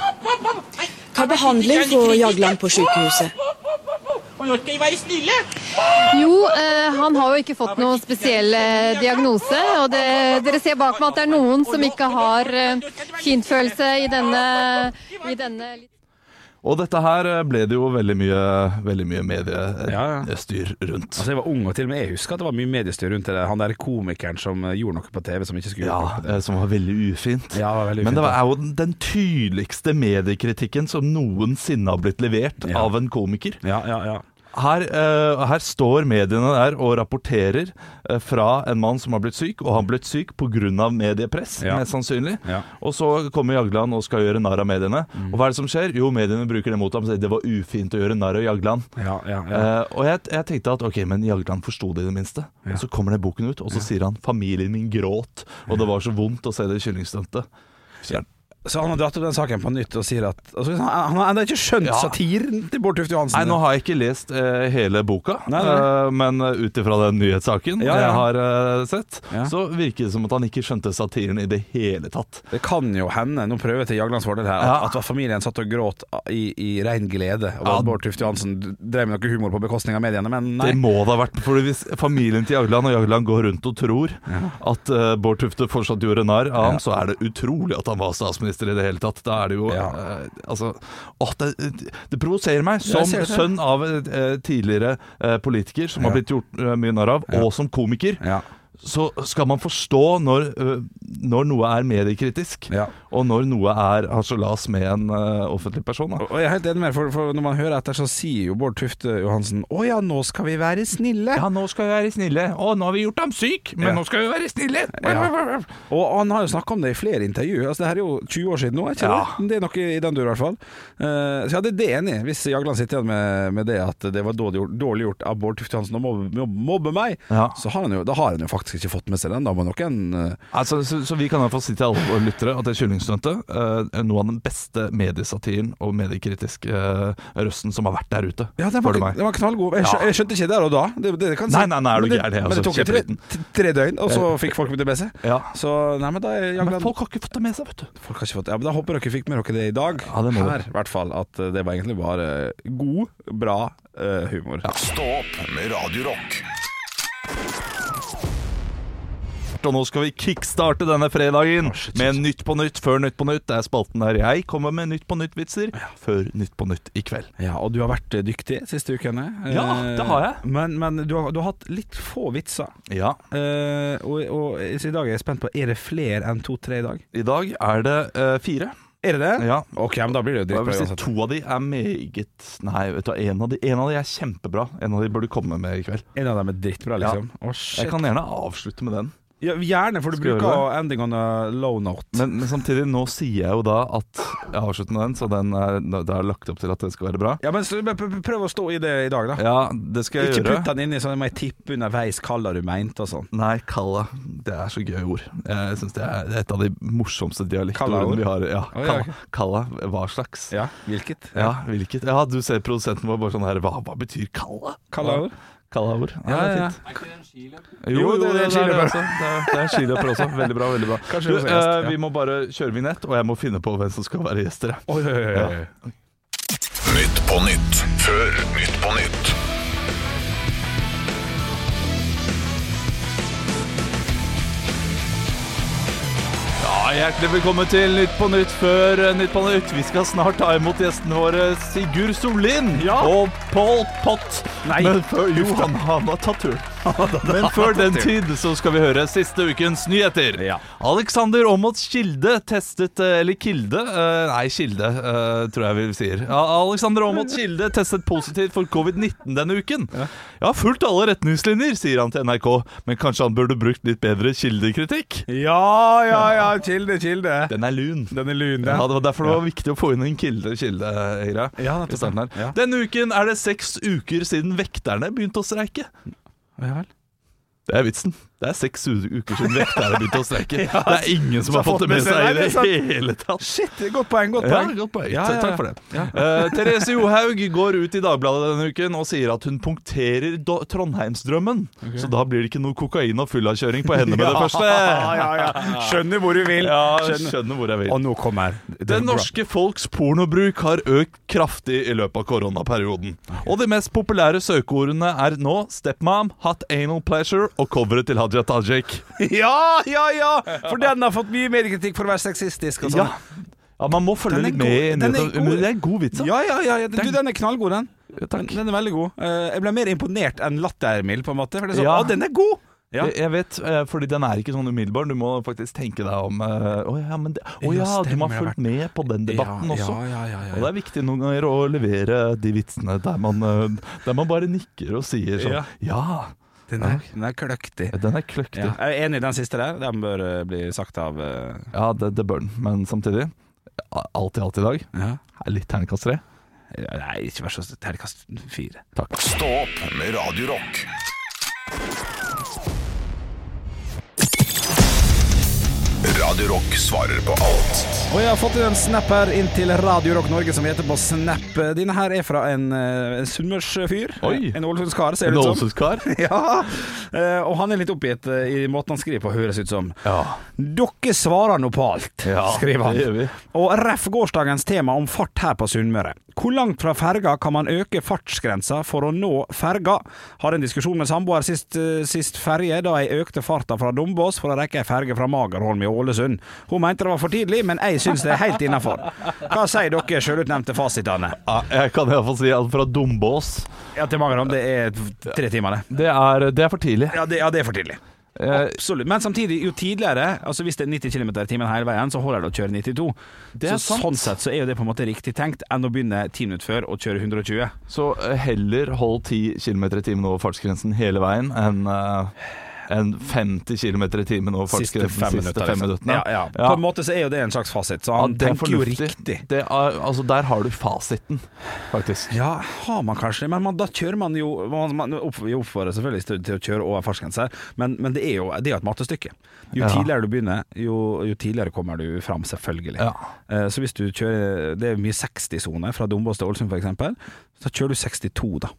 Speaker 6: Hva behandling får Jagland på sykehuset?
Speaker 7: Og nå skal de være snille!
Speaker 5: Jo, eh, han har jo ikke fått noen spesiell eh, diagnose, og det, dere ser bak meg at det er noen som ikke har eh, finfølelse i denne, i denne
Speaker 3: Og dette her eh, ble det jo veldig mye, veldig mye
Speaker 4: Ja, ja.
Speaker 3: mediestyr rundt.
Speaker 4: Altså Jeg var ung, og til og med jeg husker at det var mye mediestyr rundt det. der. Han der komikeren som eh, gjorde noe på TV som ikke skulle gjøre
Speaker 3: Ja,
Speaker 4: noe på
Speaker 3: eh, som var veldig ufint.
Speaker 4: Ja, det var veldig
Speaker 3: Men
Speaker 4: ufint,
Speaker 3: det var,
Speaker 4: ja.
Speaker 3: er jo den- den tydeligste mediekritikken som noensinne har blitt levert
Speaker 4: Ja.
Speaker 3: av en komiker.
Speaker 4: TV. Ja, ja, ja.
Speaker 3: Her, eh, her står mediene der og rapporterer eh, fra en mann som har blitt syk, og han har blitt syk pga. mediepress,
Speaker 4: Ja.
Speaker 3: mest sannsynlig.
Speaker 4: Ja. Mm.
Speaker 3: Og så kommer Jagland og skal gjøre narr av mediene. Og hva er det som skjer? Jo, mediene bruker det mot ham og sier det var ufint å gjøre narr av Jagland.
Speaker 4: ja, ja, ja.
Speaker 3: Eh, og jeg, jeg tenkte at ok, men Jagland forsto det i det minste. Og så kommer den boken ut, og så sier han 'familien min gråt', og det var så vondt å se det kyllingstuntet. Så jeg-
Speaker 4: Så han har dratt opp den saken på nytt og sier at og så, Han har ennå ikke skjønt
Speaker 3: Ja.
Speaker 4: satiren til Bård Tufte Johansen.
Speaker 3: Nei, nå har jeg ikke lest eh, hele boka,
Speaker 4: Nei, nei.
Speaker 3: eh, men ut ifra den nyhetssaken
Speaker 4: Ja, ja.
Speaker 3: jeg har eh, sett,
Speaker 4: Ja.
Speaker 3: så virker det som at han ikke skjønte satiren i det hele tatt.
Speaker 4: Det kan jo hende, nå prøver jeg til Jaglands fordel her,
Speaker 3: Ja.
Speaker 4: at, at familien satt og gråt i, i rein glede over
Speaker 3: Ja.
Speaker 4: at Bård Tufte Johansen drev med noe humor på bekostning av mediene, men nei.
Speaker 3: Det må det ha vært, for hvis familien til Jagland og Jagland går rundt og tror at eh, Bård Tufte fortsatt gjorde narr av ham,
Speaker 4: Ja.
Speaker 3: så er det utrolig at han var statsminister i det hele tatt. Da er det jo
Speaker 4: Ja.
Speaker 3: eh, Altså åh, det, det provoserer meg som
Speaker 4: Jeg ser det.
Speaker 3: sønn av eh, tidligere eh, politiker som har
Speaker 4: Ja.
Speaker 3: blitt gjort eh, mye narr av, og som komiker.
Speaker 4: Ja.
Speaker 3: så skal man forstå når, øh, når noe er mediekritisk,
Speaker 4: Ja.
Speaker 3: og når noe er harselas med en øh, offentlig person. Da.
Speaker 4: Og og jeg er helt enig med deg, for, for når man hører etter, så sier jo Bård Tufte Johansen Å ja, nå skal vi være snille.
Speaker 3: Ja, nå skal vi være snille. Å, nå har vi gjort ham syk, men
Speaker 4: Ja.
Speaker 3: nå skal vi være snille!
Speaker 4: Ja. Og han har jo snakka om det i flere intervjuer. Altså, det her er jo 20 år siden nå, er ikke
Speaker 3: Ja.
Speaker 4: det? Det er noe i den dur, i hvert fall. Eh, så ja, det er det enig i, hvis Jagland sitter igjen med, med det at det var dårlig gjort, dårlig gjort av Bård Tufte Hansen å mobbe, mobbe, mobbe meg,
Speaker 3: Ja.
Speaker 4: så har han jo, da har han jo faktisk ikke fått med seg den. Da må noen eh,
Speaker 3: Altså, så, så vi kan iallfall si til alle våre lyttere at det er Kyllingstuntet øh, er noe av den beste mediesatiren og mediekritiske øh, røsten som har vært der ute.
Speaker 4: Ja, den
Speaker 3: spør
Speaker 4: var,
Speaker 3: du
Speaker 4: den var knallgod. Jeg, skjø,
Speaker 3: Ja.
Speaker 4: jeg skjønte ikke det der og da. Det, det, kan jeg si.
Speaker 3: Nei, nei, nei, er du
Speaker 4: Men det-
Speaker 3: gæren, jeg er
Speaker 4: Men det
Speaker 3: altså
Speaker 4: tok jo tre,
Speaker 3: kjempeliten.
Speaker 4: t- tre døgn, og så fikk folk det med seg.
Speaker 3: Ja.
Speaker 4: Så nei, men da er
Speaker 3: Men
Speaker 4: Jagland
Speaker 3: folk har ikke fått det med seg, vet du.
Speaker 4: Folk har ikke fått Ja, men da håper dere fikk med dere det i dag.
Speaker 3: Ja, det må
Speaker 4: Her,
Speaker 3: dere.
Speaker 4: i hvert fall. At eh, det var egentlig bare god, bra eh, humor.
Speaker 1: Stå opp med Radio Rock.
Speaker 3: og nå skal vi kickstarte denne fredagen med Nytt på Nytt før Nytt på Nytt. Det er spalten der jeg kommer med Nytt på Nytt-vitser før Nytt på Nytt i kveld.
Speaker 4: Ja, og du har vært eh, dyktig siste ukene. Eh,
Speaker 3: Ja, det har jeg.
Speaker 4: Men, men du, har, du har hatt litt få vitser.
Speaker 3: Ja,
Speaker 4: Eh, og, og så i dag er jeg spent på Er det flere enn to-tre i dag?
Speaker 3: i dag er det eh, fire.
Speaker 4: Er det det?
Speaker 3: Ja.
Speaker 4: Ok, men da blir det jo
Speaker 3: Jeg vil
Speaker 4: dritbra
Speaker 3: si
Speaker 4: uansett.
Speaker 3: to av de er meget Nei, vet du, hva, en av de, en av de er kjempebra. En av de burde komme med i kveld.
Speaker 4: En av dem er drittbra,
Speaker 3: Ja.
Speaker 4: liksom. Å, shit.
Speaker 3: Jeg kan gjerne avslutte med den.
Speaker 4: Ja, gjerne, for du
Speaker 3: Skal vi
Speaker 4: bruker
Speaker 3: gjøre
Speaker 4: ending on a low note.
Speaker 3: Men, men samtidig, nå sier jeg jo da at jeg avslutter med den, så den er, det er lagt opp til at det skal være bra.
Speaker 4: ja, men så, p- p- prøv å stå i det i dag, da.
Speaker 3: Ja, det skal jeg
Speaker 4: Ikke
Speaker 3: gjøre.
Speaker 4: putt den inn i sånn 'jeg må tippe underveis hva du mente' og sånn.
Speaker 3: Nei, kalla. Det er så gøye ord. Jeg synes det, er, det er et av de morsomste dialektordene
Speaker 4: Kalla-ord?
Speaker 3: vi har. Ja,
Speaker 4: Å, ja,
Speaker 3: kalla.
Speaker 4: ok.
Speaker 3: kalla. Hva slags?
Speaker 4: Ja, hvilket?
Speaker 3: Ja, hvilket? Ja, du ser produsenten vår bare sånn her Hva, hva betyr kalla?
Speaker 4: Kalla-ord?
Speaker 3: Kalla-ord.
Speaker 4: Ja,
Speaker 3: det er
Speaker 4: ja,
Speaker 3: fint. Jo, jo, det, er skiløper også. Det er, det er skiløper også. Veldig bra. veldig bra
Speaker 4: Kanskje
Speaker 3: du,
Speaker 4: vi må se gjest,
Speaker 3: eh,
Speaker 4: ja.
Speaker 3: Vi må bare kjøre vignett, og jeg må finne på hvem som skal være gjester.
Speaker 4: Oi, oi, oi, oi.
Speaker 1: Nytt på nytt før Nytt på nytt.
Speaker 3: Ja, Hjertelig velkommen til Nytt på Nytt før eh, Nytt på Nytt. Vi skal snart ta imot gjestene våre Sigurd Sollien
Speaker 4: Ja.
Speaker 3: og Pål Pott.
Speaker 4: Nei.
Speaker 3: Men før, jo, han, han har tatt turen. Men før den tid så skal vi høre siste ukens nyheter.
Speaker 4: Ja.
Speaker 3: Alexander Aamodt Kilde testet eh, Eller Kilde? eh, Nei, Kilde, eh, tror jeg vi sier. Ja, Alexander Aamodt Kilde testet positivt for covid-19 denne uken. Jeg har fulgt alle retningslinjer, sier han til NRK, men kanskje han burde brukt litt bedre kildekritikk?
Speaker 4: Ja, ja, ja, kilde, kilde.
Speaker 3: Den er lun.
Speaker 4: Den er lun,
Speaker 3: Ja,
Speaker 4: den.
Speaker 3: det var derfor det var viktig å få inn en kilde-kilde-greie.
Speaker 4: Ja, nettopp.
Speaker 3: i starten her.
Speaker 4: Ja.
Speaker 3: Denne uken er det seks uker siden vekterne begynte å streike.
Speaker 4: Ja, vel.
Speaker 3: Det er vitsen. Det er seks u- uker siden vekterne begynte å streike. Det er ingen som har fått det med seg
Speaker 4: Nei,
Speaker 3: i
Speaker 4: det er
Speaker 3: det
Speaker 4: sant.
Speaker 3: hele tatt.
Speaker 4: Shit, godt poeng, godt
Speaker 3: Ja,
Speaker 4: poeng.
Speaker 3: godt poeng.
Speaker 4: Ja, ja, ja.
Speaker 3: Takk for det. Eh, Therese Johaug går ut i Dagbladet denne uken og sier at hun punkterer do- Trondheimsdrømmen. Så da blir det ikke noe kokain og fullavkjøring på henne med det første.
Speaker 4: Ja, ja, ja. Skjønner hvor du vil.
Speaker 3: Ja,
Speaker 4: Skjønner.
Speaker 3: skjønner hvor jeg vil.
Speaker 4: Og nå kommer det
Speaker 3: Det norske folks pornobruk har økt kraftig i løpet av koronaperioden. Og de mest populære søkeordene er nå stepmom, hot anal pleasure og coveret til Hadia Tajik.
Speaker 4: Ja, ja, ja! For den har fått mye mer kritikk for å være sexistisk og sånn.
Speaker 3: Ja. ja, man må følge
Speaker 4: Den er
Speaker 3: litt med. i
Speaker 4: god. Den er
Speaker 3: nyheter.
Speaker 4: god.
Speaker 3: Men det er en god vits, da.
Speaker 4: Ja, ja, ja, ja. Du,
Speaker 3: Den-
Speaker 4: den er knallgod, den.
Speaker 3: takk.
Speaker 4: Den er veldig god. Eh, Jeg ble mer imponert enn lattermild, på en måte. For det er sånn,
Speaker 3: Ja.
Speaker 4: å, den er god! Ja.
Speaker 3: Jeg, jeg vet, eh, fordi den er ikke sånn umiddelbar. Du må faktisk tenke deg om. eh, Å ja, men det, å
Speaker 4: Ja,
Speaker 3: ja, du må ha
Speaker 4: stemmer, jeg har vært-
Speaker 3: fulgt med på den debatten
Speaker 4: ja,
Speaker 3: også.
Speaker 4: Ja, ja, ja,
Speaker 3: Og det
Speaker 4: ja.
Speaker 3: er viktig noen ganger å levere de vitsene der man, eh, der man bare nikker og sier sånn
Speaker 4: Ja.
Speaker 3: Ja,
Speaker 4: Den er, den er kløktig.
Speaker 3: den er kløktig.
Speaker 4: Ja. Jeg er enig i den siste der. Den bør eh, bli sagt av eh,
Speaker 3: Ja, det, det bør den, men samtidig a- Alt i alt i dag er Litt ternekast 3
Speaker 4: Ja, Nei, ikke vær så Terningkast fire.
Speaker 1: Stå opp med Radio Rock. Radio Rock svarer på alt.
Speaker 4: Og jeg har fått en snap her inn til Radio Rock Norge som heter på Snap. Denne her er fra en, eh, en sunnmørsfyr.
Speaker 3: Oi.
Speaker 4: En Ålesundskar, ser
Speaker 3: En
Speaker 4: det ut som.
Speaker 3: Ålesundskar?
Speaker 4: Ja. Eh, Og han er litt oppgitt eh, i måten han skriver på, høres ut som.
Speaker 3: Ja.
Speaker 4: Dere svarer nå på alt,
Speaker 3: Ja,
Speaker 4: skriver han.
Speaker 3: det gjør vi.
Speaker 4: Og ref gårsdagens tema om fart her på Sunnmøre. Hvor langt fra ferga kan man øke fartsgrensa for å nå ferga? Har en diskusjon med samboer sist, eh, sist ferje, da jeg økte farta fra Dombås for å rekke ei ferge fra Magerholm i Ålesund. Hun mente det var for tidlig, men jeg syns det er helt innafor. Hva sier dere sjølutnevnte fasitene?
Speaker 3: Ja, Jeg kan iallfall si at fra Dombås
Speaker 4: Ja, til Magerholm, det er tre timer, det.
Speaker 3: det er, det er for tidlig.
Speaker 4: Ja, det, ja, det er for tidlig.
Speaker 3: Eh,
Speaker 4: Absolutt. Men samtidig, jo tidligere Altså Hvis det er 90 km i timen hele veien, så holder det å kjøre 92.
Speaker 3: Det er
Speaker 4: så
Speaker 3: sant.
Speaker 4: Sånn sett så er jo det på en måte riktig tenkt, enn å begynne 10 minutter før og kjøre 120.
Speaker 3: Så eh, heller hold 10 km i timen over fartsgrensen hele veien enn eh, enn 50 km i timen over fartsgrensen de siste fem
Speaker 4: liksom.
Speaker 3: minuttene.
Speaker 4: Ja, ja.
Speaker 3: Ja.
Speaker 4: På en måte så er jo det en slags fasit, så
Speaker 3: Ja,
Speaker 4: han
Speaker 3: det er
Speaker 4: tenker jo
Speaker 3: fornuftig.
Speaker 4: riktig.
Speaker 3: Det er, altså, der har du fasiten, faktisk.
Speaker 4: Ja, har man kanskje det, men man, da kjører man jo Man, man opp, vi oppfordrer selvfølgelig til, til å kjøre over fartsgrensa, men, men det er jo det er jo et mattestykke. Jo
Speaker 3: Ja.
Speaker 4: tidligere du begynner, jo, jo tidligere kommer du fram, selvfølgelig.
Speaker 3: Ja.
Speaker 4: Eh, Så hvis du kjører Det er mye 60-sone fra Dombås til Ålesund f.eks. Så kjører du 62, da.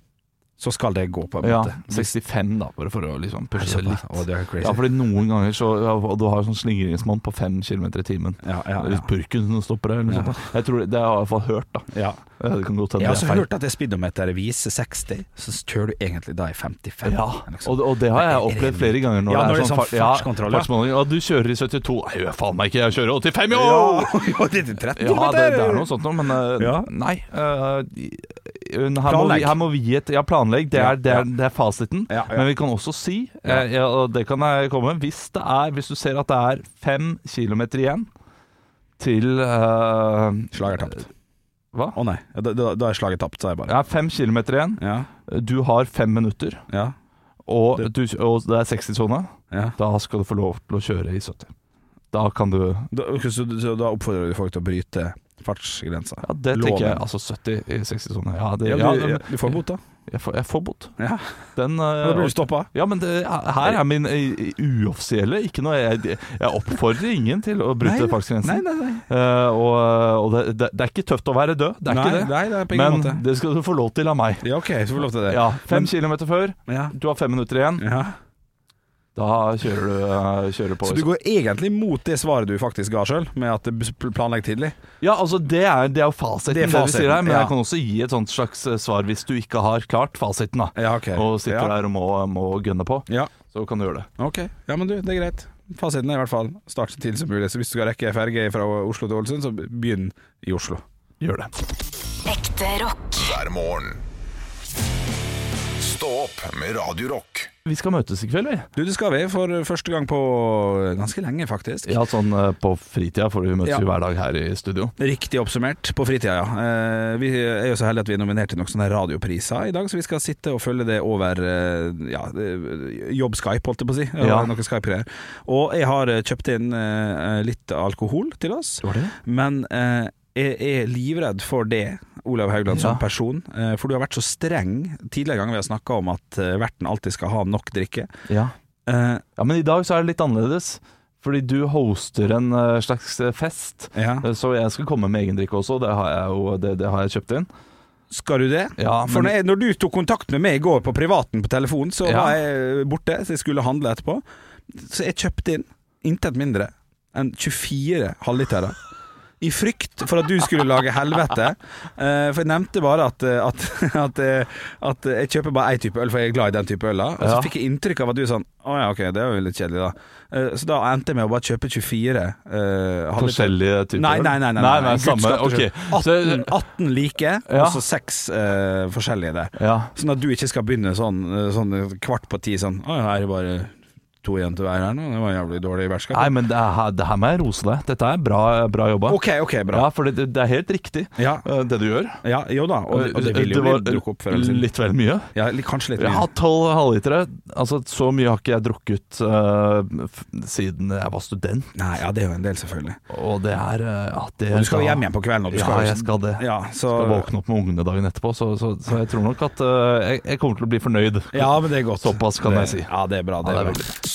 Speaker 4: Så skal det gå, på en
Speaker 3: Ja,
Speaker 4: måte.
Speaker 3: 65 da, bare for å liksom
Speaker 4: Er det
Speaker 3: pushe det
Speaker 4: såpass?
Speaker 3: litt.
Speaker 4: Å, det er crazy.
Speaker 3: Ja, fordi noen ganger så ja, og Du har sånn slingringsmonn på 5 km i timen.
Speaker 4: Ja, ja, ja.
Speaker 3: Hvis purken stopper deg, eller noe sånt. da. Jeg tror det, det har jeg i hvert fall hørt, da.
Speaker 4: Ja.
Speaker 3: Eh, Det kan godt hende
Speaker 4: Jeg har
Speaker 3: det
Speaker 4: også
Speaker 3: er feil.
Speaker 4: hørt at det speedometeret viser 60, så kjører du egentlig da i 55.
Speaker 3: Ja,
Speaker 4: liksom.
Speaker 3: og, og det har jeg
Speaker 4: Men er det-
Speaker 3: opplevd flere ganger. Når
Speaker 4: ja,
Speaker 3: det er sånn
Speaker 4: sånn
Speaker 3: far- ja,
Speaker 4: fartskontroll. ja.
Speaker 3: fartsmåling. Ja, du kjører i 72. Nei, gjør faen meg ikke, jeg kjører 85, jo!
Speaker 4: Ja, jo, det
Speaker 3: Ja,
Speaker 4: er 13
Speaker 3: det, det er
Speaker 4: kilometer.
Speaker 3: noe sånt noe, men eh,
Speaker 4: Ja.
Speaker 3: nei. eh, her, må vi,
Speaker 4: Planlegg.
Speaker 3: her må vi gi et Ja, planlegg. Det
Speaker 4: Ja,
Speaker 3: er, det
Speaker 4: ja.
Speaker 3: er, det er fasiten.
Speaker 4: Ja, ja.
Speaker 3: Men vi kan også si, eh, ja, og det kan jeg komme Hvis det er Hvis du ser at det er fem kilometer igjen til eh,
Speaker 4: Slaget er tapt.
Speaker 3: Hva?
Speaker 4: Å nei, ja, da, da, da er slaget tapt, sa jeg bare.
Speaker 3: Ja, fem kilometer igjen.
Speaker 4: Ja,
Speaker 3: Du har fem minutter,
Speaker 4: ja,
Speaker 3: og, du, og det er 60-sone.
Speaker 4: ja.
Speaker 3: Da skal du få lov til å kjøre i 70. Da kan du Ja,
Speaker 4: Da, ok, så, så da oppfordrer du folk til å bryte fartsgrensa?
Speaker 3: det
Speaker 4: Loven.
Speaker 3: tenker jeg. Altså 70 i 60-sone. Ja, det,
Speaker 4: Ja,
Speaker 3: ja,
Speaker 4: du,
Speaker 3: men,
Speaker 4: du får bot, da.
Speaker 3: jeg, får, jeg får bot.
Speaker 4: Ja.
Speaker 3: Den
Speaker 4: Da
Speaker 3: eh,
Speaker 4: blir du stoppa.
Speaker 3: Ja, men det, her er min eh, uoffisielle Ikke noe jeg, jeg oppfordrer ingen til å bryte fartsgrensen. Eh, og og det, det, det er ikke tøft å være død, det er
Speaker 4: nei,
Speaker 3: ikke det.
Speaker 4: Nei, det er på ingen
Speaker 3: men
Speaker 4: måte.
Speaker 3: det skal du få lov til av meg.
Speaker 4: Ja, OK, så får du lov til det.
Speaker 3: Ja, Fem
Speaker 4: Men-
Speaker 3: kilometer før,
Speaker 4: Ja.
Speaker 3: du har fem minutter igjen.
Speaker 4: Ja.
Speaker 3: Da kjører du eh, kjører på.
Speaker 4: Så du går egentlig mot det svaret du faktisk ga sjøl, med at det pl- planlegg tidlig?
Speaker 3: Ja, altså det er, det er jo fasiten,
Speaker 4: Det er
Speaker 3: det, vi sier
Speaker 4: fasiten,
Speaker 3: her. Men
Speaker 4: ja.
Speaker 3: jeg kan også gi et sånt slags eh, svar hvis du ikke har klart fasiten, da.
Speaker 4: Ja, ok.
Speaker 3: Og sitter
Speaker 4: ja.
Speaker 3: der og må, må gønne på.
Speaker 4: Ja,
Speaker 3: Så kan du gjøre det.
Speaker 4: ok. Ja, men du, det er greit. Fasiten er i hvert fall start så tidlig som mulig. Så hvis du skal rekke ferge fra Oslo til Ålesund, så begynn i Oslo.
Speaker 3: Gjør det.
Speaker 2: Ekte rock.
Speaker 1: hver morgen. Stå opp med Radio Rock.
Speaker 3: Vi skal møtes i kveld, vi.
Speaker 4: Du, det skal vi for første gang på ganske lenge, faktisk.
Speaker 3: Ja, sånn eh, på fritida, for vi møtes
Speaker 4: Ja.
Speaker 3: jo hver dag her i studio.
Speaker 4: Riktig oppsummert, på fritida, ja. Eh, Vi er jo så heldige at vi er nominert til noen sånne radiopriser i dag, så vi skal sitte og følge det over eh, ja, eh, jobb-Skype, holdt jeg på å si.
Speaker 3: Ja.
Speaker 4: Noen Skype-greier. Og jeg har eh, kjøpt inn eh, litt alkohol til oss, men eh, jeg er livredd for det, Olav Haugland, som
Speaker 3: Ja.
Speaker 4: person. eh, For du har vært så streng tidligere ganger vi har snakka om at eh, verten alltid skal ha nok drikke.
Speaker 3: Ja.
Speaker 4: Eh,
Speaker 3: ja, men i dag så er det litt annerledes. Fordi du hoster en eh, slags eh, fest.
Speaker 4: ja.
Speaker 3: Eh, Så jeg skal komme med egen drikke også, det har jeg, jo, det, det har jeg kjøpt inn.
Speaker 4: Skal du det?
Speaker 3: Ja,
Speaker 4: For når,
Speaker 3: men,
Speaker 4: jeg, når du tok kontakt med meg i går på privaten på telefonen, så
Speaker 3: Ja.
Speaker 4: var jeg borte, så jeg skulle handle etterpå. Så jeg kjøpte inn intet mindre enn 24 halvlitere. I frykt for at du skulle lage helvete. Eh, for jeg nevnte bare at, eh, at, at, at jeg kjøper bare én type øl, for jeg er glad i den type øl. da. Og så
Speaker 3: Ja.
Speaker 4: fikk jeg inntrykk av at du sånn Å ja, ok, det var jo litt kjedelig, da. Eh, så da endte jeg med å bare kjøpe 24 uh, halvlitere.
Speaker 3: forskjellige typer
Speaker 4: Nei,
Speaker 3: øl?
Speaker 4: nei, nei. nei,
Speaker 3: nei,
Speaker 4: nei, Gud
Speaker 3: samme,
Speaker 4: skapte
Speaker 3: ok.
Speaker 4: skjønn. 18, 18 like,
Speaker 3: Ja.
Speaker 4: og så seks eh, forskjellige der.
Speaker 3: Så, ja.
Speaker 4: Sånn at du ikke skal begynne sånn, eh, sånn kvart på ti sånn Å, er det bare to igjen til hver her nå? Det var jævlig dårlig verskap.
Speaker 3: Nei, men det her, det her må jeg rose deg. Dette er bra, bra jobba.
Speaker 4: OK, OK, bra.
Speaker 3: Ja, for det, det er helt riktig,
Speaker 4: Ja.
Speaker 3: eh, det du gjør. Eh,
Speaker 4: ja, jo da. Og, og det vil jo
Speaker 3: var
Speaker 4: bli drukket opp før eller siden.
Speaker 3: Litt vel mye.
Speaker 4: Ja, li- kanskje litt
Speaker 3: Jeg har
Speaker 4: mye.
Speaker 3: hatt tolv halvlitere. Altså, så mye har ikke jeg drukket eh, f- siden jeg var student.
Speaker 4: Nei, ja, det er jo en del, selvfølgelig.
Speaker 3: Og det er eh, ja, det,
Speaker 4: Og du skal jo
Speaker 3: da-
Speaker 4: hjem igjen på kvelden, og du
Speaker 3: Ja,
Speaker 4: skal jo-
Speaker 3: jeg skal det.
Speaker 4: Ja, så
Speaker 3: Skal våkne opp med ungene dagen etterpå, så, så, så jeg tror nok at eh, jeg, jeg kommer til å bli fornøyd.
Speaker 4: Ja, men det er godt.
Speaker 3: Såpass kan
Speaker 4: Det-
Speaker 3: jeg si.
Speaker 4: Ja, det er bra. Det
Speaker 3: Ja,
Speaker 4: er
Speaker 3: det er
Speaker 4: bra.
Speaker 3: veldig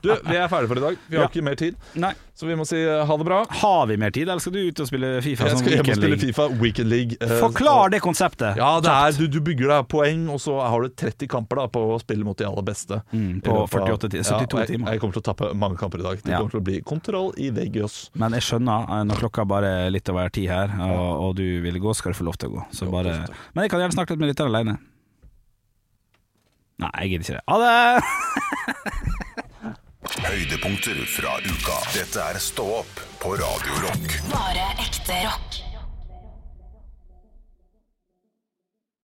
Speaker 3: Du, vi er ferdige for i dag. Vi har ikke mer tid,
Speaker 4: Nei.
Speaker 3: så vi må si eh, ha det bra.
Speaker 4: Har vi mer tid, eller skal du ut og spille Fifa?
Speaker 3: Jeg
Speaker 4: som
Speaker 3: skal hjem og
Speaker 4: sånn weekend
Speaker 3: spille
Speaker 4: league?
Speaker 3: Fifa Weekend League. eh,
Speaker 4: Forklar det konseptet
Speaker 3: Ja, det er, du, du bygger deg poeng, og så har du 30 kamper da, på å spille mot de aller beste.
Speaker 4: Mm, på
Speaker 3: I løpet av-
Speaker 4: 48 ti- 72
Speaker 3: og jeg,
Speaker 4: timer.
Speaker 3: Jeg kommer til å tappe mange kamper i dag. Det
Speaker 4: Ja.
Speaker 3: kommer til å bli kontroll i veggios.
Speaker 4: Men jeg skjønner, eh, når klokka bare er litt over ti her, og, og du vil gå, skal du få lov til å gå. Så bare, men jeg kan gjerne snakke litt med lytteren alene. Nei, jeg gidder ikke det. Ha det!
Speaker 1: Høydepunkter fra uka. Dette er Stå opp på Radio Rock.